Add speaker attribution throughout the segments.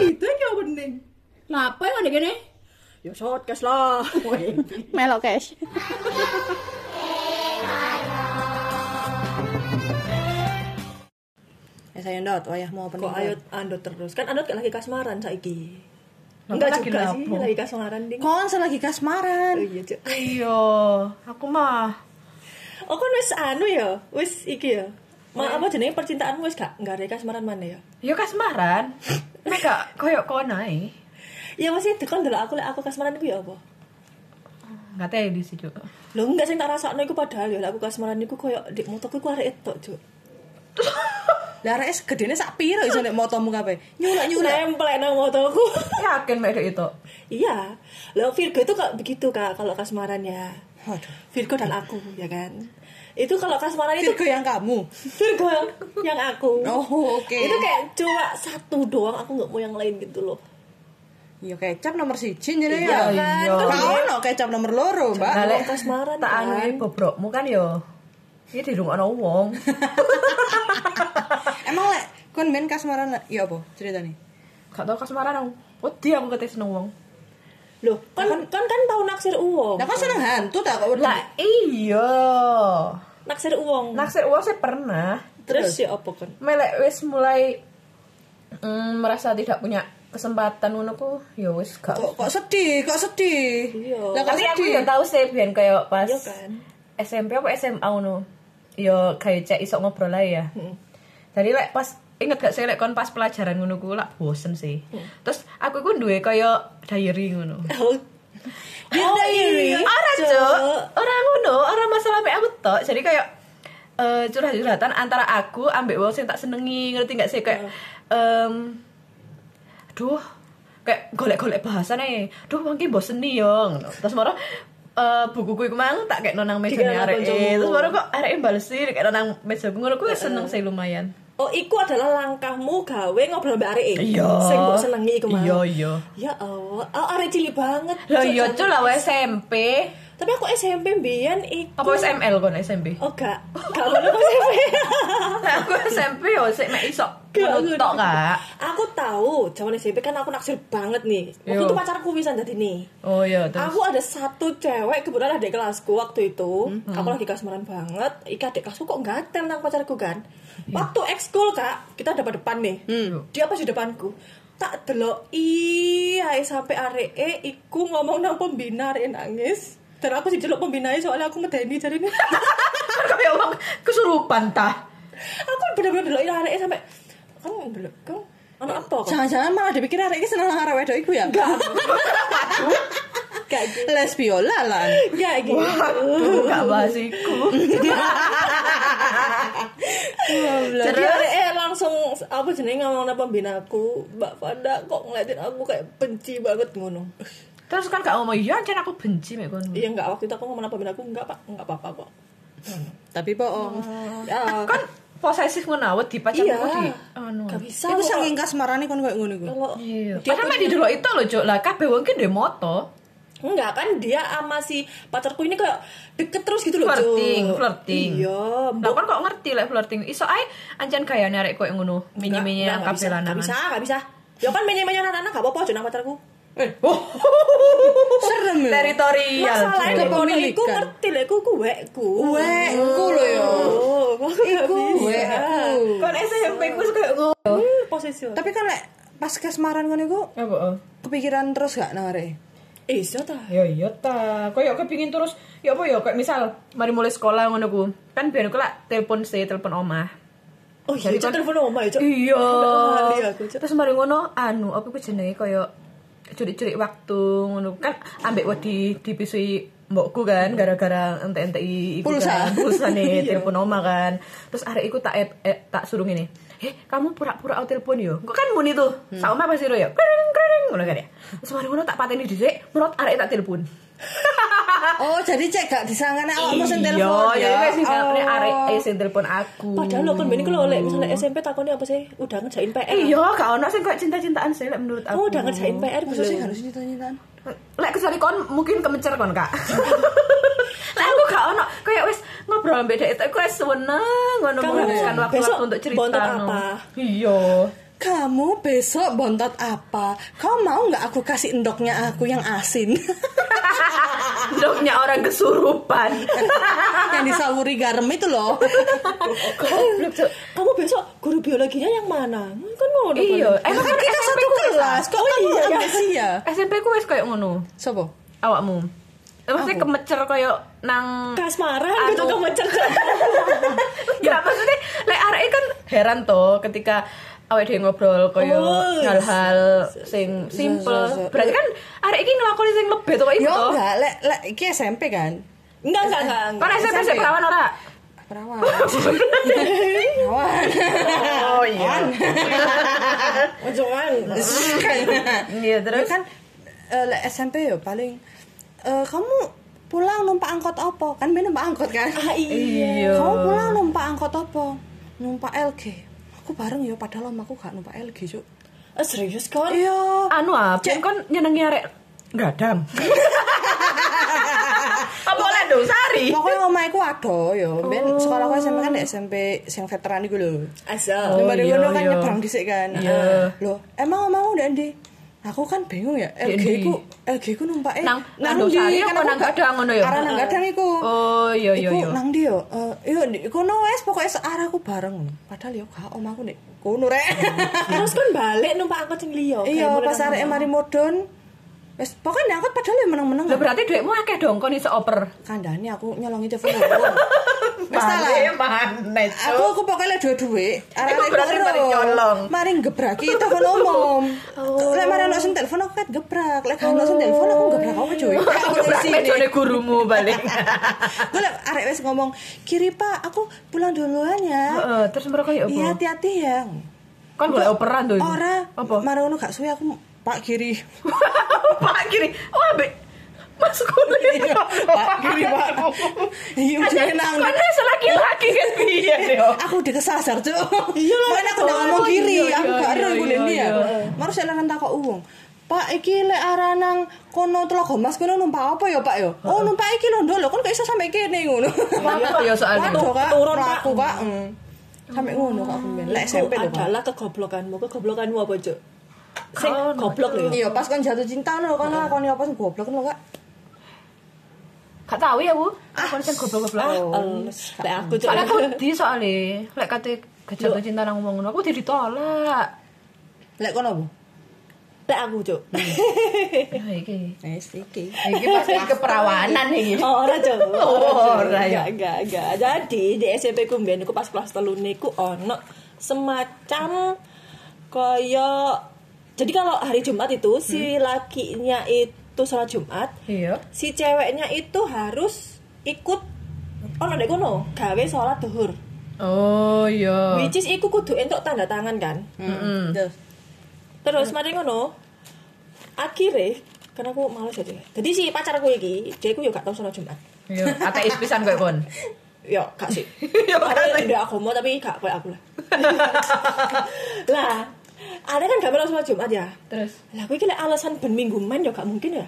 Speaker 1: itu yang mending lah apa yang ada gini ya shortcast lah
Speaker 2: Melo cash.
Speaker 3: Eh saya ndot, wayah mau opening.
Speaker 1: kok ayo
Speaker 4: Iya.
Speaker 1: andot terus kan andot kan lagi kasmaran saiki
Speaker 4: Lah,
Speaker 1: enggak
Speaker 4: lagi
Speaker 1: juga sih
Speaker 4: napa?
Speaker 1: lagi kasmaran ding
Speaker 3: Kon lagi kasmaran.
Speaker 1: Oh, iya cuk
Speaker 4: Iya, aku mah
Speaker 1: oh kan wis anu ya wis iki ya Ma, apa jenenge percintaanmu wis gak enggak ada kasmaran mana ya
Speaker 4: Iya. yo kasmaran. Nek gak koyok kono ae.
Speaker 1: ya masih dekon dulu aku lek aku kasmaran iku ya apa
Speaker 4: Enggak tahu ya di situ.
Speaker 1: Lho enggak sing tak rasakno iku padahal ya lek aku kasmaran iku koyo ndek motoku iku arek etok, Cuk.
Speaker 3: Lah areke segedene sak piro iso nek motomu kabeh. Nyulak nyulak.
Speaker 1: Nempel nang motoku.
Speaker 4: Yakin mek dek itu.
Speaker 1: iya. Lho Virgo itu kok begitu Kak kalau kasmaran ya.
Speaker 3: Waduh.
Speaker 1: Virgo dan aku, ya kan. Itu kalau kasmaran itu
Speaker 3: Virgo yang Nah, kamu.
Speaker 1: Virgo yang aku.
Speaker 3: Oh, oke.
Speaker 1: Itu kayak cuma satu doang, aku nggak mau yang lain gitu loh.
Speaker 3: Iya kecap nomor siji jenenge
Speaker 1: Iya, kan?
Speaker 3: ya.
Speaker 4: iya.
Speaker 1: Kan
Speaker 3: Kau no kecap nomor loro, Mbak.
Speaker 4: Nah, lek
Speaker 1: kasmaran,
Speaker 4: Tak
Speaker 1: kan?
Speaker 4: anu bobrokmu kan yo. Iki di rumah wong.
Speaker 3: Emang lek kon main kasmaran ya apa ceritane?
Speaker 4: Gak tau kasmaran aku. Wedi aku ketesno wong.
Speaker 1: Loh, kan kan, kan, tahu naksir uang.
Speaker 3: Lah kon seneng hantu tak kok.
Speaker 4: Lah iya.
Speaker 1: Naksir uang.
Speaker 4: Naksir wong saya pernah.
Speaker 1: Terus ya apa kan?
Speaker 4: Melek wis mulai mm, merasa tidak punya kesempatan ngono ku ya wis gak
Speaker 3: kok kok sedih, kok sedih.
Speaker 1: Iya.
Speaker 3: Lah kok
Speaker 4: tapi aku
Speaker 3: sedih.
Speaker 4: ya tahu sih biar kayak pas
Speaker 1: Iya kan?
Speaker 4: SMP apa SMA no yo kayak cek isok ngobrol lah ya
Speaker 1: Hmm.
Speaker 4: jadi lek pas inget gak sih lek kon pas pelajaran ngono ku lak bosen sih
Speaker 1: Hmm.
Speaker 4: terus aku ku duwe kayak diary ngono
Speaker 1: Oh, iya. diary.
Speaker 4: Ora Oh, iya, cuk, ora ngono, ora masalah mek aku tok. Jadi kayak eh, curhat-curhatan antara aku ambek wong sing tak senengi, ngerti gak sih kayak em aduh, kayak golek-golek bahasane. Duh, mungkin bosen nih yo. ngono. Terus moro eh, bukuku iku mang tak kayak Iya, nonang mejane
Speaker 1: Dikekno
Speaker 4: arek
Speaker 1: koncomu.
Speaker 4: terus baru kok arek balesi kayak nonang meja ngono ku seneng sih lumayan
Speaker 1: Oh, iku adalah langkahmu gawe ngobrol mbak Arek.
Speaker 4: Iya.
Speaker 1: Sing mbok senengi iku mau.
Speaker 4: Iya, iya.
Speaker 1: Ya Allah, oh, arek cilik banget.
Speaker 4: lo
Speaker 1: Cuk,
Speaker 4: yo
Speaker 1: jangan-
Speaker 4: cu lah iya. wes SMP
Speaker 1: Tapi aku SMP mbiyen iku.
Speaker 4: apa wes ML kon SMP
Speaker 1: Oh, gak. Gak ngono aku SMP.
Speaker 4: Nah, aku SMP yo sik mek iso
Speaker 1: Gak
Speaker 4: ngono tok kak
Speaker 1: Aku tahu, zaman SMP kan aku naksir banget nih. Waktu
Speaker 4: Iya.
Speaker 1: itu pacarku bisa jadi nih.
Speaker 4: Oh iya, terus
Speaker 1: Aku ada satu cewek kebetulan adik kelasku waktu itu. Aku lagi kasmaran banget. Ika adik kelasku kok gatel nang pacarku kan. Waktu ekskul kak, kita dapat depan nih. Dia pas di depanku. Tak delok iya sampai arek e iku ngomong nang pembina arek e nangis. Dan aku diceluk pembina e soalnya aku medeni jadi ini.
Speaker 4: kayak orang kesurupan tah.
Speaker 1: aku bener-bener delok iya arek e sampai kan delok kan anak apa kok?
Speaker 3: Jangan-jangan malah dipikir arek iki seneng nang arek wedok iku ya.
Speaker 1: Gak gitu.
Speaker 3: Lesbiola lan.
Speaker 1: Gak gitu.
Speaker 4: Aduh, gak bahas iku.
Speaker 1: Iya, Jadi arek e langsung apa jenenge ngomong nang pembinaku, Mbak Fanda kok ngeliatin aku kayak benci banget ngono.
Speaker 4: Terus kan gak ngomong, iya ancan aku benci mek kon.
Speaker 1: Iya enggak waktu itu aku ngomong nang pembinaku enggak Pak, enggak apa-apa kok.
Speaker 3: Tapi bohong.
Speaker 1: Ya.
Speaker 4: Kan posesif ngono di pacar
Speaker 1: Iya.
Speaker 4: aku di anu.
Speaker 1: Gak bisa.
Speaker 3: Iku
Speaker 1: kok.
Speaker 3: saking kasmarane kon koyo ngono iku.
Speaker 1: Kalau
Speaker 4: Iya.
Speaker 1: dia
Speaker 4: Padahal mek di delok itu lho, Cuk. Lah kabeh wong ki ndek moto.
Speaker 1: Enggak kan dia sama si pacarku ini kayak deket terus gitu loh Jo.
Speaker 4: Flirting, flirting.
Speaker 1: Iya
Speaker 4: Lah kon kok ngerti lek flirting. Iso ae ancan gayane arek koyo ngono, minyi-minyi
Speaker 1: Enggak,
Speaker 4: nang
Speaker 1: enggak,
Speaker 4: kabeh
Speaker 1: Enggak bisa,
Speaker 4: lanangan.
Speaker 1: enggak bisa Ya kan menye-menye anak-anak gak apa-apa aja nang pacarku
Speaker 4: Eh, oh.
Speaker 3: Serem ya.
Speaker 4: Teritorial.
Speaker 1: Masalahnya di
Speaker 4: Cuk.
Speaker 1: kono
Speaker 3: Kepemilikan.
Speaker 1: iku Iya, ngerti lho, iku kuwekku
Speaker 3: Wekku lho ya.
Speaker 1: Oh, aku gak bisa.
Speaker 3: Wekku.
Speaker 4: kon SMP ku koyo ngono.
Speaker 1: Hmm, Posisi
Speaker 3: Tapi kan lek pas kasmaran ngono iku
Speaker 4: Apa? oh?
Speaker 3: kepikiran terus gak nang arek?
Speaker 1: Eh, Iso ta
Speaker 4: Ya iya ta, koyo kepingin terus ya apa ya kayak misal mari mulai sekolah ngono ku. Kan biar aku lah telepon sih, telepon omah.
Speaker 1: Oh iya, Cok, telepon oma ya, Cok.
Speaker 4: Iya.
Speaker 1: Lali aku, Cok.
Speaker 4: Terus mari ngono anu apa ku jenenge koyo curik-curik waktu ngono kan ambek wedi dipisui mbokku kan gara-gara ente-entei iku
Speaker 3: Pulsa.
Speaker 4: kan pulsa nih telepon oma kan terus arek iku tak add- eh, tak suruh ngene eh kamu pura-pura au telepon yo kok kan muni tuh sama oma pasti ya kering kering ngono kan ya terus mari ngono tak pateni dhisik menurut arek tak telepon
Speaker 3: Oh, jadi cek gak disangkane awakmu sing
Speaker 4: Iya,
Speaker 3: telepon
Speaker 4: jadi
Speaker 3: ya.
Speaker 4: kayak sing arek eh, sing telepon aku.
Speaker 1: Padahal lo kan bener kalau oleh misalnya SMP takonnya apa sih? Udah ngerjain PR.
Speaker 4: Iya, gak ono sing kayak cinta-cintaan sih lek menurut aku.
Speaker 1: Kamu Oh, udah ngerjain PR
Speaker 3: Masa sih
Speaker 1: belum?
Speaker 3: harus kan? ditanya-tanya?
Speaker 4: Lek kecuali kon mungkin kemecer kon, Kak. Lek aku gak ono kayak wis ngobrol ambek dhek itu aku wis seneng ngono
Speaker 1: Kamu
Speaker 4: menghabiskan
Speaker 1: besok
Speaker 4: waktu-waktu untuk cerita.
Speaker 1: bontot
Speaker 4: no.
Speaker 1: apa?
Speaker 4: Iya.
Speaker 3: kamu besok bontot apa? Kau mau nggak aku kasih endoknya aku yang asin?
Speaker 4: Doknya orang kesurupan.
Speaker 3: yang disawuri garam itu loh.
Speaker 4: Goblok, Cuk.
Speaker 1: Kamu besok guru biologinya yang mana? Kan ngono.
Speaker 4: Iya,
Speaker 1: kan?
Speaker 4: emang
Speaker 3: kan kita satu kelas,
Speaker 4: Oh,
Speaker 3: kok kamu
Speaker 1: iya, ya.
Speaker 3: amnesia?
Speaker 4: SMP ku wis koyo ngono.
Speaker 3: Sopo?
Speaker 4: Awakmu. Maksudnya kemecer koyo nang
Speaker 1: kasmaran gitu
Speaker 4: Anu.
Speaker 1: kamu cerdas.
Speaker 4: Enggak maksudnya lek areke kan heran to ketika awake dhewe ngobrol koyo
Speaker 1: Oh,
Speaker 4: hal-hal sing simple. Berarti kan arek iki nglakoni sing lebih to kok iku
Speaker 3: Yo
Speaker 4: to.
Speaker 3: Ya, enggak, lek lek iki SMP kan.
Speaker 1: Enggak, enggak, enggak. enggak.
Speaker 4: Kan SMP sik perawan ora?
Speaker 3: Perawan. Perawan.
Speaker 4: Oh iya.
Speaker 1: Ojongan.
Speaker 4: Iya
Speaker 3: Terus
Speaker 4: terus
Speaker 3: kan eh, lek SMP yo paling eh, kamu pulang numpak angkot opo? Kan ben numpak angkot kan.
Speaker 1: Ah, iya.
Speaker 4: iya.
Speaker 3: Kamu pulang numpak angkot opo? Numpak LG. Aku bareng yo padahal om aku gak numpak LG, Cuk.
Speaker 1: Eh, serius
Speaker 4: Oh.
Speaker 1: kan?
Speaker 3: Iya.
Speaker 4: anu apa? Kon nyenengi arek gadang. Apa oleh dosari?
Speaker 3: Pokoknya omahku ado yo. Ben
Speaker 4: Oh.
Speaker 3: sekolah aku SMP kan di SMP sing veteran iku lho.
Speaker 1: Asal.
Speaker 4: Oh,
Speaker 3: Oh, Mbak
Speaker 4: iya,
Speaker 3: Dewono kan
Speaker 4: iya.
Speaker 3: nyebrang dhisik kan.
Speaker 4: Iya.
Speaker 3: Loh, emang omahmu ndak ndi? Aku kan bingung ya,
Speaker 4: Ndek
Speaker 3: LG
Speaker 4: ndi?
Speaker 3: ku LG ku eh, numpake
Speaker 4: Nang- nang Dosari apa nang Gadang ngono ya? Ah.
Speaker 3: Arah nang Gadang iku.
Speaker 4: Oh, iya, iya,
Speaker 3: Iku
Speaker 4: iya.
Speaker 3: Nang ndi yo? Eh, yo ndi kono wes pokoke searah aku bareng. Padahal yo gak omahku nek kono rek.
Speaker 4: Oh.
Speaker 1: Terus kan balik numpak angkot sing liya. Kayak
Speaker 3: Iya,
Speaker 1: mulai
Speaker 3: pas
Speaker 1: nang-
Speaker 3: arek mari modon. Wes pokoke nek angkot padahal ya yo meneng-meneng.
Speaker 4: Lah berarti duitmu akeh dong kon iso oper.
Speaker 3: Kandani aku nyolongi telepon wong. Wes ta lah.
Speaker 4: mana
Speaker 3: Aku aku pokoknya dua duit.
Speaker 4: Iku berarti mari nyolong. Oh.
Speaker 3: Mari gebraki telepon umum. Lek mari ana sing telepon aku ket gebrak. Lek ana sing telepon aku gebrak apa cuy?
Speaker 4: Oh, Gebrak mejone gurumu balik.
Speaker 3: Gue lek arek wis ngomong, "Kiri Pak, aku pulang duluan ya."
Speaker 4: Heeh, terus mereka ya
Speaker 3: Iya,
Speaker 4: apa?
Speaker 3: hati-hati ya.
Speaker 4: Kon Kan golek operan tuh.
Speaker 3: Ora,
Speaker 4: Apa?
Speaker 3: mari ngono gak suwe aku Pak Kiri.
Speaker 4: Pak kiri. Oh, ambek Mas kulit.
Speaker 3: Iya, Pak Kiri, Pak. Iya, jane nang. Iya, Ah.
Speaker 4: Kon wis laki-laki kan piye yo.
Speaker 3: Aku dikesasar, Cuk.
Speaker 1: Iya lah,
Speaker 3: Makanya aku udah
Speaker 1: Cuk.
Speaker 3: ngomong
Speaker 4: Iya,
Speaker 3: kiri,
Speaker 4: iya,
Speaker 3: aku gak
Speaker 4: iya,
Speaker 3: ero
Speaker 4: iya,
Speaker 3: iku ndek dia.
Speaker 4: iya.
Speaker 3: Maru sik lanang takok wong. Pak iki lek arah nang kono Telaga Mas kono numpak apa ya, Pak ya? Oh, numpak iki lho, Ndol. Lho, Kon gak iso sampe kene ngono. Iya,
Speaker 4: Apa ya soalnya?
Speaker 3: Waduh, Kak.
Speaker 1: Keturun, Pak.
Speaker 3: Aku, Pak. Mm. Sampe ngono kok aku mbiyen. Lek
Speaker 1: Itu
Speaker 3: SMP lho, Pak.
Speaker 1: adalah kegoblokanmu. Kegoblokanmu apa, Cuk? Sing
Speaker 4: Kon.
Speaker 1: goblok lho. ya.
Speaker 3: Iya, pas kon jatuh cinta lho, kon lakoni apa sing goblok lho, Kak.
Speaker 4: Gak tahu ya, Bu. Kon sing
Speaker 3: Ah.
Speaker 4: goblok-goblok.
Speaker 1: El, Eh, Lek aku, Cuk.
Speaker 4: Soalnya aku di soalnya lek kate gejala cinta nang ngomong ngono aku di ditolak.
Speaker 3: Lek kono apa?
Speaker 1: Lek aku, Cuk.
Speaker 4: Ya iki.
Speaker 3: Wes iki.
Speaker 4: Iki pasti keperawanan
Speaker 3: Iya.
Speaker 4: iki.
Speaker 3: Oh.
Speaker 1: Ora, Cuk.
Speaker 4: Ora,
Speaker 1: ya.
Speaker 4: ya.
Speaker 1: Enggak, enggak. Jadi di SMP ku mbiyen iku pas kelas 3 niku ono semacam koyo jadi kalau hari Jumat itu si
Speaker 3: Hmm.
Speaker 1: lakinya itu sholat Jumat,
Speaker 4: Iya.
Speaker 1: si ceweknya itu harus ikut ono nek kono gawe sholat duhur.
Speaker 4: Oh, iya.
Speaker 1: Which is iku kudu entuk tanda tangan kan.
Speaker 3: Heeh. Terus. Hmm.
Speaker 1: Terus mari ngono. Akhire karena aku males aja. Jadi si pacarku iki, dia iku yo gak tau sholat Jumat.
Speaker 4: Iya, ateis pisan kowe kon.
Speaker 1: Yo, gak sih.
Speaker 4: Yo, gak
Speaker 1: Ada udah aku mau tapi gak kayak aku lah. lah, ada kan gak melu sholat Jumat ya.
Speaker 4: Terus
Speaker 1: Lah aku iki lek alasan ben minggu main yo gak mungkin ya.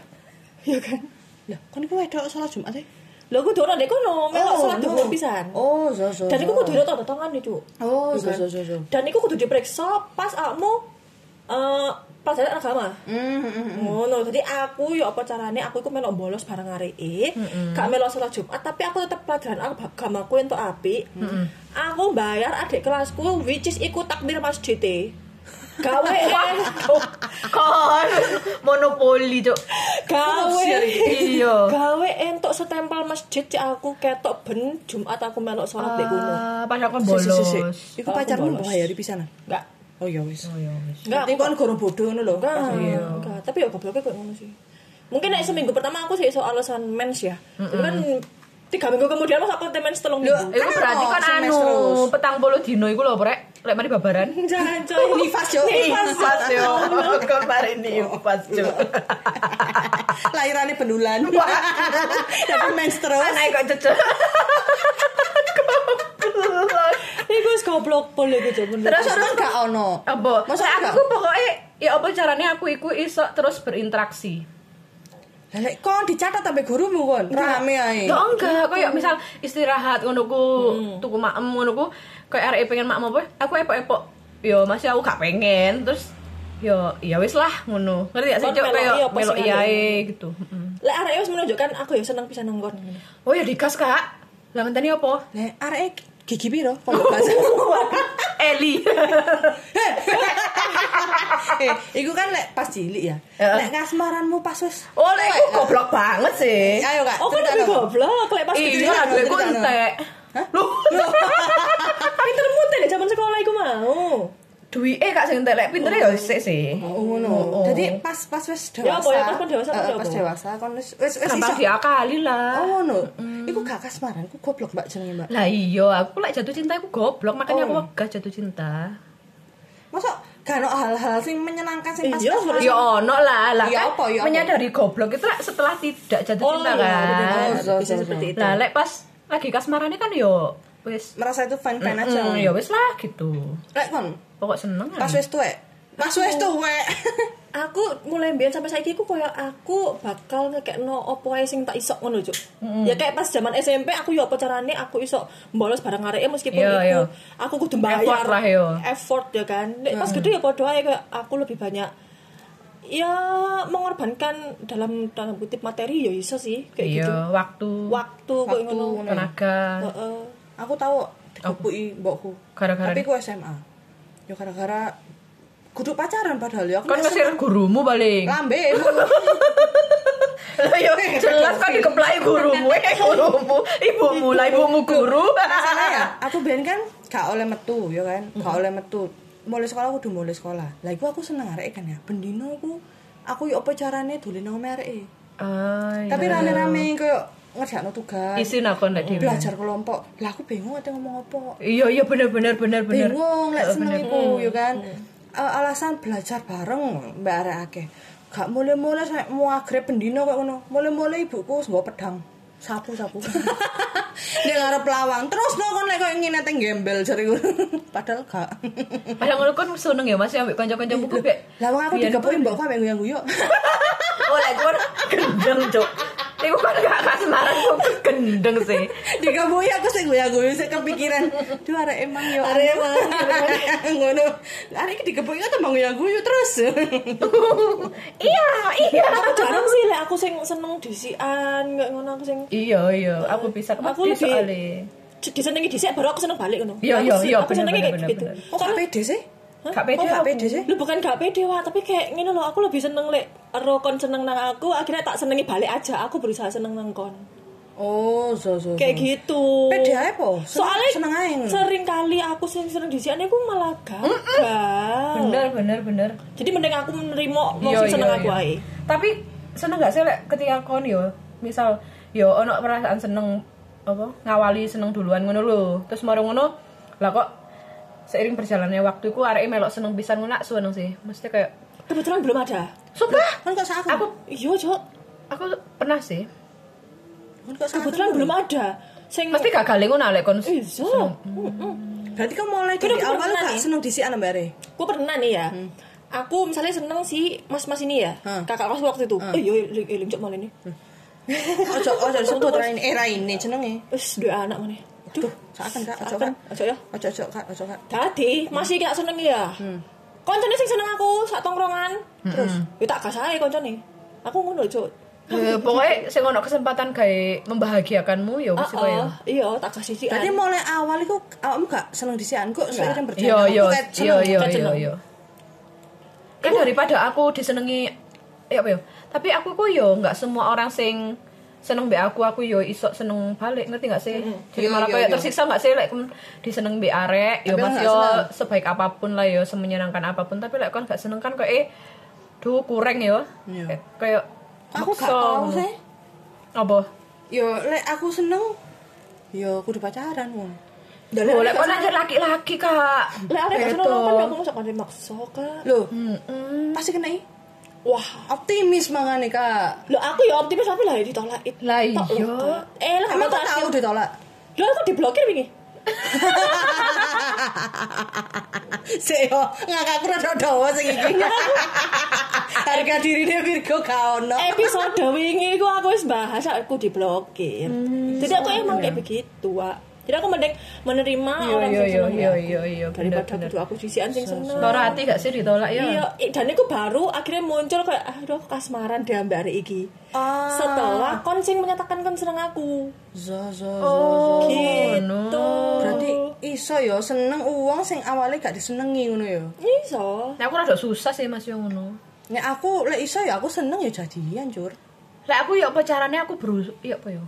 Speaker 1: Ya kan.
Speaker 3: Lah, kon iku wedok salat Jumat e.
Speaker 1: Lho aku dono dek kono, melok sholat duhur pisan.
Speaker 3: Oh, so so.
Speaker 1: Dan aku
Speaker 3: so.
Speaker 1: kudu rata tangan nih, Cuk. Iya kan?
Speaker 3: Oh, so so so. so.
Speaker 1: Dan aku kudu diperiksa pas awakmu eh pelajaran agama.
Speaker 3: Mm, mm, mm.
Speaker 1: ngono jadi aku ya apa carane aku iku melok bolos bareng areke gak melok sholat Jumat tapi aku tetep pelajaran agamaku entuk apik aku bayar adik kelasku which is ikut takbir masjid e gawe
Speaker 4: kon monopoli, Cuk.
Speaker 1: gawe
Speaker 4: Iya.
Speaker 1: gawe entuk setempel masjid cek aku ketok ben Jumat aku melok sholat di gunung
Speaker 4: Ah, Pas aku
Speaker 3: Si, si,
Speaker 4: bolos.
Speaker 3: si, si. Iku
Speaker 1: Aku
Speaker 3: pacarmu
Speaker 1: bolos.
Speaker 3: mbayari pisanan.
Speaker 1: enggak
Speaker 3: Oh ya wis.
Speaker 4: Oh, iya wis.
Speaker 1: enggak
Speaker 3: Berarti
Speaker 1: aku
Speaker 3: kan guru bodoh ngono lho.
Speaker 1: enggak
Speaker 4: Iya.
Speaker 1: enggak tapi ya gobloknya kayak ngono sih mungkin nek seminggu pertama aku sih iso alasan mens ya Tapi kan tiga minggu kemudian masa aku mens telung minggu
Speaker 4: Iku
Speaker 3: Kan
Speaker 4: berarti
Speaker 3: apa?
Speaker 4: kan anu
Speaker 3: Semester terus.
Speaker 4: petang puluh dino iku lho, Prek. Lek mari babaran.
Speaker 1: Jangan coy
Speaker 3: Nifas yo.
Speaker 4: Nifas yo. Kon mari nifas, Cuk.
Speaker 3: Lahirannya pendulan. Tapi mens terus.
Speaker 4: Anake kok cecek. Goblok.
Speaker 1: Iku wis goblok pol iku Cuk, bener.
Speaker 4: Terus
Speaker 3: Terus kan gak ono.
Speaker 4: apa?
Speaker 3: Masa
Speaker 4: Lek
Speaker 3: enggak?
Speaker 4: aku pokoknya ya apa caranya aku iku iso terus berinteraksi.
Speaker 3: Lah, Lek kon dicatat sampe gurumu kon. Rame ae.
Speaker 4: Ya enggak, kayak misal istirahat ngono ku, tuku maem ngono ku, kayak arek pengen maem apa, aku epok-epok yo masih aku gak pengen terus yo ya wis lah ngono ngerti gak sih
Speaker 1: Kon
Speaker 4: cok
Speaker 1: meloki
Speaker 4: kayak
Speaker 1: apa sih
Speaker 4: melok
Speaker 1: nganu?
Speaker 4: iyae gitu Mm.
Speaker 1: Lek arek wis menunjukkan aku ya seneng pisan nongkon.
Speaker 4: oh ya digas kak lah menteni apa
Speaker 3: Nek arek gigi piro Eh, kon bahas.
Speaker 4: Eli
Speaker 3: Eh, iku kan lek pas cilik ya.
Speaker 4: Heeh.
Speaker 3: Lek kasmaranmu pas wis.
Speaker 4: oh lah aku goblok banget sih
Speaker 3: Ayo Kak,
Speaker 1: Oh, kan
Speaker 3: ceritain
Speaker 1: lebih
Speaker 3: apa?
Speaker 1: goblok lek pas gede.
Speaker 4: iya
Speaker 3: cerita,
Speaker 4: gue kok
Speaker 3: cerita.
Speaker 4: entek lu
Speaker 1: Pintermu teh zaman sekolah iku mau.
Speaker 4: duit eh kak sing entek lek pintere ya sik sih
Speaker 3: Oh, ngono. Jadi pas pas wis dewasa.
Speaker 1: Ya apa, ya pas kon dewasa, kon ya
Speaker 3: Heeh, pas
Speaker 1: apa?
Speaker 3: dewasa kon wis wis wis
Speaker 4: gampang
Speaker 3: iso.
Speaker 4: diakali
Speaker 3: Oh,
Speaker 4: lah
Speaker 3: ngono. Iku gak kasmaran, ku goblok Mbak jenenge, Mbak.
Speaker 4: lah iya aku lek jatuh cinta aku goblok makanya aku
Speaker 3: Oh.
Speaker 4: wegah jatuh cinta
Speaker 3: Masa gak ono hal-hal sing menyenangkan sing
Speaker 1: Iya,
Speaker 3: pas
Speaker 4: Ya ono lah, lah
Speaker 3: Ya
Speaker 4: kan
Speaker 3: apa, ya apa?
Speaker 4: menyadari goblok itu lah setelah tidak jatuh
Speaker 1: Oh,
Speaker 4: cinta
Speaker 1: iya,
Speaker 4: kan.
Speaker 1: bener.
Speaker 3: so,
Speaker 1: bisa
Speaker 3: so, so.
Speaker 1: seperti itu.
Speaker 4: Lah lek pas lagi kasmarannya kan yo wis
Speaker 3: merasa itu fine-fine aja.
Speaker 4: mm, ya wis lah gitu.
Speaker 3: Lek kon
Speaker 4: Pokok seneng.
Speaker 3: pas
Speaker 4: kan.
Speaker 3: wis tuwek. Pas wis tuwek.
Speaker 1: aku mulai mbiyen sampai saiki aku koyo aku bakal ngekekno opo ae sing tak isok ngono cuk. Ya kayak pas zaman SMP aku yo apa carane aku isok bolos barang areke meskipun
Speaker 4: Iya,
Speaker 1: itu
Speaker 4: iya.
Speaker 1: aku kudu bayar.
Speaker 4: Effort lah, yo.
Speaker 1: Effort ya kan. Nek pas gede ya padha ae kayak aku lebih banyak ya mengorbankan dalam dalam kutip materi ya iso sih kayak
Speaker 4: Iya,
Speaker 1: gitu.
Speaker 4: waktu,
Speaker 1: Waktu koyo
Speaker 3: Waktu,
Speaker 1: ngono.
Speaker 3: ngono.
Speaker 4: tenaga.
Speaker 1: Heeh.
Speaker 3: Aku tahu dikepuki mbokku.
Speaker 4: Gara-gara-
Speaker 3: Tapi ku SMA. Ya gara-gara kudu pacaran padahal ya. Aku
Speaker 4: Kan
Speaker 3: nek
Speaker 4: ngasih gurumu paling.
Speaker 3: lambe
Speaker 4: Lah yo jelas kan dikeplai gurumu, eh gurumu, ibumu lah ibumu guru.
Speaker 3: Salah ya aku ben kan gak oleh metu ya kan gak oleh metu mulai sekolah aku udah mulai sekolah lah iku aku seneng arek kan ya bendino aku aku yo apa carane dolen nang omah arek
Speaker 4: Ah, iya.
Speaker 3: tapi rame-rame koyo ngerjakno tugas
Speaker 4: isin aku ndak dhewe.
Speaker 3: belajar kelompok lah aku bingung ada ngomong apa
Speaker 4: Iya iya bener bener bener bener.
Speaker 3: bingung lek
Speaker 4: Eh,
Speaker 3: seneng
Speaker 4: bener.
Speaker 3: iku ya kan Eh, alasan belajar bareng mbak arek akeh gak mulai-mulai sampe mau agrep pendino kok ngono mulai-mulai ibuku wis nggo pedang sapu-sapu dia ngarep lawang terus no kon lek koyo ngene teng gembel jariku padahal gak
Speaker 4: Padahal ngono kan seneng ya masih ambek kanca-kancamu ku kayak.
Speaker 3: lawang aku
Speaker 4: Biyen
Speaker 3: digepuki mbokku ambek guyu-guyu
Speaker 4: Oh, lah cuman gendeng, Cuk. Iku kan gak kasmaran kok gendeng sih.
Speaker 3: digepuki aku sing guyu-guyu sik kepikiran duh arek emang yo
Speaker 1: Arek emang,
Speaker 3: ngono arek iki digepuki kan tambah guyu-guyu terus
Speaker 4: iya, iya.
Speaker 1: Aku jarang sih lek aku sing seneng disian kayak ngono aku sing
Speaker 4: Iya, iya, aku bisa
Speaker 1: Aku
Speaker 4: aku
Speaker 1: lebih-
Speaker 4: soalnya.
Speaker 1: disenengi dhisik baru aku seneng balik ngono. Aku
Speaker 4: Iya, iya,
Speaker 1: sih-
Speaker 4: iya,
Speaker 1: Aku senengnya
Speaker 4: bener,
Speaker 1: kayak
Speaker 4: bener,
Speaker 1: gitu.
Speaker 4: bener.
Speaker 3: kok gak pede sih
Speaker 1: Hah?
Speaker 4: Gak pede
Speaker 1: Kok
Speaker 3: aku. pede sih?
Speaker 1: Lu bukan gak pede wah, tapi kayak ngene loh, aku lebih seneng lek ero kon seneng nang aku, akhirnya tak senengi balik aja. Aku berusaha seneng nang kon.
Speaker 3: Oh, so so.
Speaker 1: Kayak gitu.
Speaker 3: Pede ae po. Seneng-
Speaker 1: Soalnya
Speaker 3: seneng ae ngono.
Speaker 1: sering kali aku sering seneng disiane aku malah gagal.
Speaker 4: Bener, bener, bener.
Speaker 1: Jadi mending aku menerima wong
Speaker 4: Iya,
Speaker 1: sing
Speaker 4: iya,
Speaker 1: seneng aku
Speaker 4: iya.
Speaker 1: ae.
Speaker 4: Tapi seneng gak sih lek ketika kon yo, misal yo ono perasaan seneng apa ngawali seneng duluan ngono lho. Terus moro ngono lah kok seiring berjalannya waktu ku areke melok seneng pisan ngono nak seneng sih. Mesti kayak
Speaker 1: Kebetulan belum ada.
Speaker 4: sumpah
Speaker 3: Kan kok sak aku.
Speaker 4: aku
Speaker 1: Iya, Cok.
Speaker 4: aku pernah sih
Speaker 3: Kan kok sak aku.
Speaker 1: Kebetulan belum ada. Sing
Speaker 4: pasti gagal ngono lek kon
Speaker 1: Iya.
Speaker 3: Hmm. Berarti kamu mulai dari
Speaker 1: Kudu aku
Speaker 3: awal
Speaker 1: pernah
Speaker 3: gak
Speaker 1: nih.
Speaker 3: seneng disian Mbak Re.
Speaker 1: Gue pernah nih ya. Aku misalnya seneng si mas-mas ini ya,
Speaker 3: Hmm.
Speaker 1: kakak kelas waktu itu. Eh, iya, iya, iya, cok malah ini.
Speaker 3: Ojo ojo disebut rain era ini eh, jenenge.
Speaker 1: Terus dua anak mana?
Speaker 3: Duh, saken Kak, Hmm. ojo Kak.
Speaker 1: Akan, ojo ya.
Speaker 3: Ojo ojo Kak, ojo Kak.
Speaker 1: Tadi masih gak seneng ya.
Speaker 3: Hmm.
Speaker 1: Koncone sing seneng aku sak tongkrongan. Terus, ya tak gas ae koncone. Aku ngono, Cuk.
Speaker 4: Eh, pokoknya sing ono kesempatan kayak membahagiakanmu ya
Speaker 1: Oh,
Speaker 4: wis koyo.
Speaker 1: iya, tak kasih sih.
Speaker 3: Berarti mulai awal iku awakmu gak seneng disian kok seiring
Speaker 4: Yo
Speaker 3: berjalan
Speaker 4: yo
Speaker 3: aku kayak
Speaker 4: yo
Speaker 3: kan seneng.
Speaker 4: yo
Speaker 1: kayak
Speaker 4: yo
Speaker 1: seneng.
Speaker 4: yo. Kan daripada aku disenengi ya apa ya? Tapi aku kok yo nggak semua orang sing seneng mbek aku aku yo isok seneng balik ngerti nggak sih? Jadi
Speaker 3: Yo,
Speaker 4: malah
Speaker 3: yo,
Speaker 4: kayak
Speaker 3: yo.
Speaker 4: tersiksa nggak sih lek like, diseneng mbek arek yo
Speaker 3: Tapi
Speaker 4: mas
Speaker 3: nggak
Speaker 4: yo
Speaker 3: seneng.
Speaker 4: sebaik apapun lah yo semenyenangkan apapun tapi lek kon gak seneng kan kayak eh duh kurang yo.
Speaker 3: Yo.
Speaker 4: Kayak- Kayak
Speaker 3: Aku gak
Speaker 4: maksa
Speaker 3: tau
Speaker 4: ngono.
Speaker 3: sih.
Speaker 4: Apa?
Speaker 3: Yo lek aku seneng yo kudu pacaran wong.
Speaker 4: Boleh kok nanya laki-laki kak
Speaker 1: Lek arek gak seneng
Speaker 4: Gitu.
Speaker 1: kan aku sok kare maksa, Kak.
Speaker 3: Loh,
Speaker 4: Mm-mm.
Speaker 3: pasti kena i.
Speaker 1: Wah,
Speaker 3: Optimis mangane Kak.
Speaker 1: lo aku ya optimis tapi lah ya ditolak.
Speaker 4: Lah
Speaker 1: Tok lho,
Speaker 4: iya.
Speaker 1: Kak. Eh, lah
Speaker 3: Emang
Speaker 1: aku
Speaker 3: kok tahu
Speaker 1: terakhir.
Speaker 3: ditolak.
Speaker 1: Lo aku diblokir wingi.
Speaker 3: Sik yo, ngakak aku rada dawa sing iki.
Speaker 1: Ya,
Speaker 3: Harga dirine Virgo gak ono.
Speaker 4: Eh, Hmm,
Speaker 1: episode wingi ku aku wis bahas aku diblokir. Jadi aku emang kayak begitu, Wak. jadi aku mending menerima
Speaker 4: ya. Iya,
Speaker 1: orang
Speaker 4: iya,
Speaker 1: yang seneng
Speaker 4: iya,
Speaker 1: ya
Speaker 4: iya, iya,
Speaker 1: daripada
Speaker 4: bener,
Speaker 1: butuh aku sisian sing seneng
Speaker 4: Loro hati gak sih ditolak ya?
Speaker 1: Iya, i- dan itu baru akhirnya muncul kayak "Ah, aduh aku kasmaran deh ambek arek iki.
Speaker 4: Ah.
Speaker 3: Oh.
Speaker 1: Setelah kon sing menyatakan kon seneng aku.
Speaker 3: Zo, zo, zo,
Speaker 4: Oh.
Speaker 3: zo.
Speaker 1: gitu.
Speaker 3: Berarti iso ya seneng uang sing awalnya gak disenengi ngono ya.
Speaker 1: Iso.
Speaker 4: Nah, aku rada susah sih Mas yang ngono.
Speaker 3: Nek aku lek iso ya aku seneng ya jadian, Cur.
Speaker 4: Lah aku ya apa caranya aku berus ya apa ya?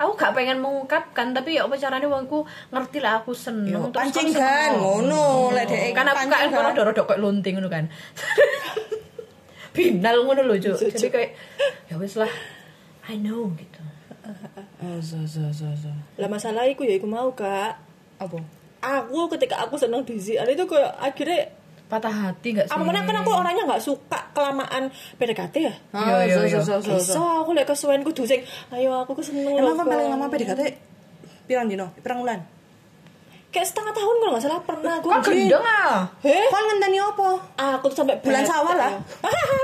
Speaker 4: Aku gak pengen mengungkapkan tapi ya apa caranya wongku ngerti lah aku seneng terus aku
Speaker 3: Pancingan
Speaker 4: seneng.
Speaker 3: ngono lek dhek
Speaker 4: Kan aku kan
Speaker 3: pancingan.
Speaker 4: kono rada kayak lonting ngono kan. Binal ngono lho, Cuk. Jadi kayak ya wis lah. I know gitu.
Speaker 3: Oh, zo, zo, zo, zo.
Speaker 1: Lah masalah iku ya iku mau, Kak.
Speaker 3: Apa?
Speaker 1: Aku ketika aku seneng dizian itu kayak akhirnya
Speaker 4: Patah hati gak sih?
Speaker 3: Iya.
Speaker 1: apa mana kan aku orangnya nggak suka kelamaan PDKT ya.
Speaker 4: Iya,
Speaker 3: Ah,
Speaker 4: iya,
Speaker 3: zo,
Speaker 4: iya.
Speaker 3: zo, zo, zo,
Speaker 1: Iso
Speaker 3: zo.
Speaker 1: aku lek kesuwen kudu sing ayo aku keseneng
Speaker 3: Emang
Speaker 1: lho,
Speaker 3: kan paling
Speaker 1: Kak."
Speaker 3: lama PDKT pirang dino? Pirang bulan?
Speaker 1: kayak setengah tahun kalau nggak salah pernah aku
Speaker 4: Kok gendeng ah?
Speaker 1: Heh?
Speaker 3: Kon ngenteni apa?
Speaker 1: aku tuh sampai
Speaker 3: Bulan
Speaker 1: bete.
Speaker 3: sawal lah.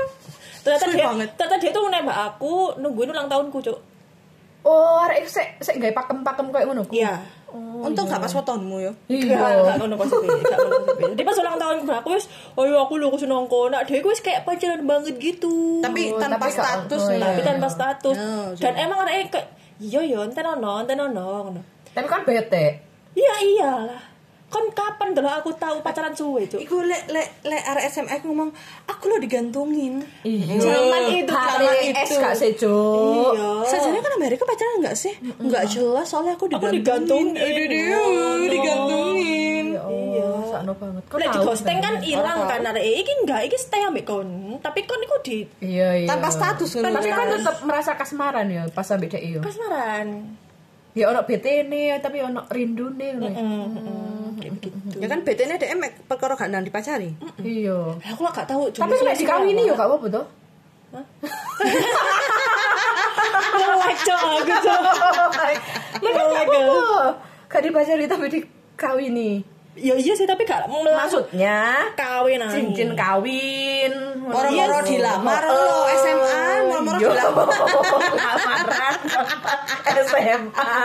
Speaker 1: ternyata
Speaker 3: Sulit
Speaker 1: dia
Speaker 3: banget.
Speaker 1: ternyata dia tuh menembak aku nungguin ulang tahunku cuk
Speaker 4: Oh, arek iku sik sik gawe pakem-pakem kayak ngono. ku.
Speaker 1: iya
Speaker 3: Untung gak pas wetonmu ya.
Speaker 1: Gak, gak
Speaker 4: Iya.
Speaker 1: ngono konsepnya, gak ngono konsepnya. Jadi pas ulang tahun aku wis, oh iya aku lho aku seneng kono. Dia wis kayak pacaran banget gitu.
Speaker 3: Tapi
Speaker 4: Oh, tapi
Speaker 3: tanpa
Speaker 4: gak-
Speaker 3: status
Speaker 4: oh, iya.
Speaker 1: tapi tanpa status.
Speaker 3: Oh,
Speaker 1: Dan emang anaknya kayak iya yo enten ono, enten ono ngono.
Speaker 4: Tapi kan bete.
Speaker 1: Iya iyalah. Kon kapan dulu aku tahu pacaran suwe, Cuk?
Speaker 3: Iku lek lek lek arek SMA aku ngomong aku lo digantungin.
Speaker 4: Iya.
Speaker 1: Zaman itu,
Speaker 4: Hari
Speaker 1: zaman
Speaker 4: es
Speaker 1: itu.
Speaker 4: gak sih, Cuk?
Speaker 1: Iya.
Speaker 3: Sajane kan Amerika pacaran enggak sih? Enggak jelas soalnya aku
Speaker 1: Aku digantungin.
Speaker 3: digantungin. Aduh, aduh,
Speaker 1: Oh, no.
Speaker 3: digantungin.
Speaker 4: Iya, sakno banget. Kok
Speaker 1: Lek di
Speaker 4: tahu
Speaker 1: ghosting kan
Speaker 4: sebenarnya?
Speaker 1: hilang
Speaker 4: Orang
Speaker 1: kan
Speaker 4: tahu.
Speaker 1: arek iki enggak, iki stay ambek kon. Tapi kon iku di
Speaker 4: Iya, iya.
Speaker 3: Tanpa status kan.
Speaker 4: Tapi kan tetap merasa kasmaran ya pas sampe dek yo.
Speaker 1: kasmaran.
Speaker 4: Ya ono bete nih, tapi ono rindu nih.
Speaker 1: Hmm,
Speaker 4: Hmm,
Speaker 3: Ya kan BT-nya dia emek perkara gak nang dipacari.
Speaker 4: Iya.
Speaker 1: Lah, Aku lah gak tahu
Speaker 4: Tapi nek dikawini yo gak apa-apa toh.
Speaker 1: Lelek cok aku cok.
Speaker 4: Ya
Speaker 1: Oh
Speaker 4: kan gak apa-apa. Gak dipacari tapi dikawini.
Speaker 1: Ya iya sih tapi gak mau langsung
Speaker 4: Maksudnya
Speaker 1: kawin aja.
Speaker 4: cincin kawin.
Speaker 3: Moro-moro dilamar lo SMA, moro-moro
Speaker 4: Iya Oh. Yo,
Speaker 3: dilamar.
Speaker 4: lamaran SMA.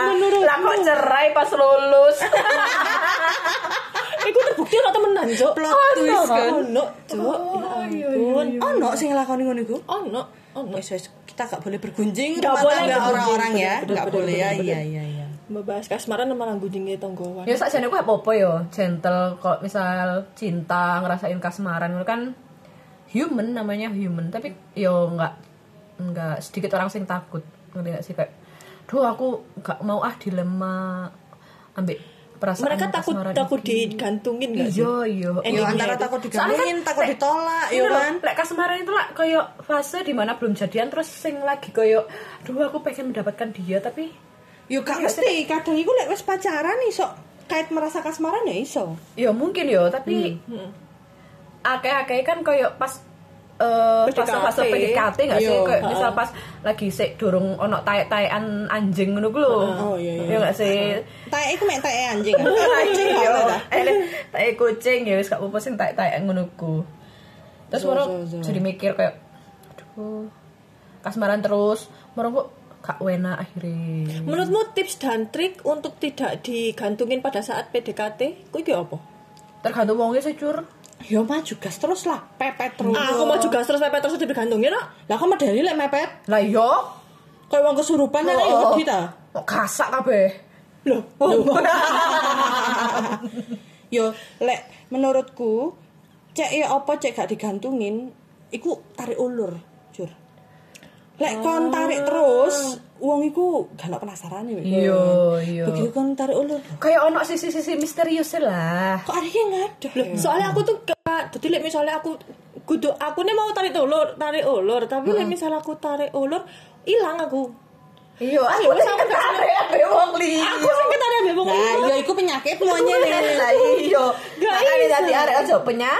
Speaker 4: Lah kok cerai pas lulus?
Speaker 1: Ah, Iku terbukti ono temenan cok.
Speaker 3: Plot twist kan.
Speaker 1: Ono cok.
Speaker 4: Oh, iya,
Speaker 1: Ya ampun.
Speaker 3: Ono sing nglakoni ngono iku.
Speaker 1: Ono ono.
Speaker 3: Wes wes kita gak boleh bergunjing
Speaker 1: Gak
Speaker 3: rumah
Speaker 1: boleh bergunjing.
Speaker 3: tangga orang-orang ya.
Speaker 1: Bener,
Speaker 3: Gak
Speaker 1: bener,
Speaker 3: boleh ya.
Speaker 1: bener,
Speaker 3: Iya iya iya.
Speaker 1: Membahas kasmaran sama langgunjingnya tonggowan.
Speaker 4: Ya sakjane ku apa-apa yo, gentle kok misal cinta ngerasain kasmaran itu kan human namanya human, tapi yo nggak nggak sedikit orang sing takut. Ngerti nggak sih kayak duh aku nggak mau ah dilema ambek perasaan
Speaker 1: Mereka takut
Speaker 4: kasmaran
Speaker 1: takut
Speaker 4: iki."
Speaker 1: digantungin gak sih?
Speaker 4: Iya, iya.
Speaker 3: Yo
Speaker 1: Endingnya
Speaker 3: antara
Speaker 1: itu.
Speaker 3: takut
Speaker 4: Soalnya kan,
Speaker 3: digantungin, takut
Speaker 1: eh,
Speaker 4: lek-
Speaker 3: ditolak,
Speaker 4: Iya
Speaker 3: ya
Speaker 4: lho,
Speaker 3: kan.
Speaker 4: Lek kasmaran itu lah kayak fase dimana belum jadian terus sing lagi kayak duh aku pengen mendapatkan dia tapi
Speaker 3: Yo gak
Speaker 1: Iya,
Speaker 3: mesti, kadang iku lek wis pacaran iso kait merasa kasmaran ya iso.
Speaker 4: Ya mungkin ya, tapi
Speaker 3: Hmm,
Speaker 4: akeh-akeh kan kayak pas eh,
Speaker 1: PDKT.
Speaker 4: fase-fase PDKT nggak sih?
Speaker 3: Iya.
Speaker 4: Kayak misal pas lagi sik durung ono taek-taekan anjing ngono ku lho.
Speaker 3: Oh, iya, iya.
Speaker 4: Ya nggak sih?
Speaker 3: Tae iku mek tae anjing.
Speaker 1: Iya.
Speaker 4: Anjing
Speaker 3: Anjing
Speaker 4: ya.
Speaker 3: ya.
Speaker 4: Taek kucing ya wis gak apa-apa sing taek-taekan ngono ku. Terus moro jadi mikir kayak aduh kasmaran terus, moro kok gak enak akhirnya.
Speaker 1: Menurutmu tips dan trik untuk tidak digantungin pada saat PDKT, kuwi ki apa?
Speaker 4: Tergantung wongnya sih cur.
Speaker 3: Yo maju gas terus lah, pepet terus.
Speaker 1: Aku maju gas terus pepet terus digantungin kok.
Speaker 3: Lah kok medali lek mepet?
Speaker 4: Lah yo,
Speaker 3: Kayak wong kesurupan kan
Speaker 1: Oh,
Speaker 3: ya wedi ta.
Speaker 4: kok kasak kabeh.
Speaker 1: Loh,
Speaker 3: Yo lek menurutku cek ya apa cek gak digantungin iku tarik ulur, Jur.
Speaker 1: Ah.
Speaker 3: Lek kon tarik terus, wong iku gak ono penasaran ya.
Speaker 4: Iya, iya.
Speaker 3: Begitu kon tarik ulur,
Speaker 4: kayak ono sisi-sisi misterius lah.
Speaker 3: kok areke ngadoh.
Speaker 1: Loh, soalnya aku tuh gak jadi like, misalnya aku kudu aku nih mau tarik ulur tarik ulur tapi like, misalnya aku tarik ulur hilang aku
Speaker 4: Iya, aku
Speaker 1: wes,
Speaker 4: sing
Speaker 1: aku
Speaker 4: ketare abe wong liya.
Speaker 1: aku sing ketarik ambil wong
Speaker 3: Nah,
Speaker 1: liya.
Speaker 3: ya iku Nah, penyakitmu anyar.
Speaker 4: Lah iya.
Speaker 1: Gak
Speaker 4: Makane
Speaker 1: iso.
Speaker 4: dadi arek aja penya.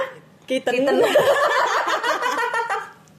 Speaker 1: kiten
Speaker 4: Kiten.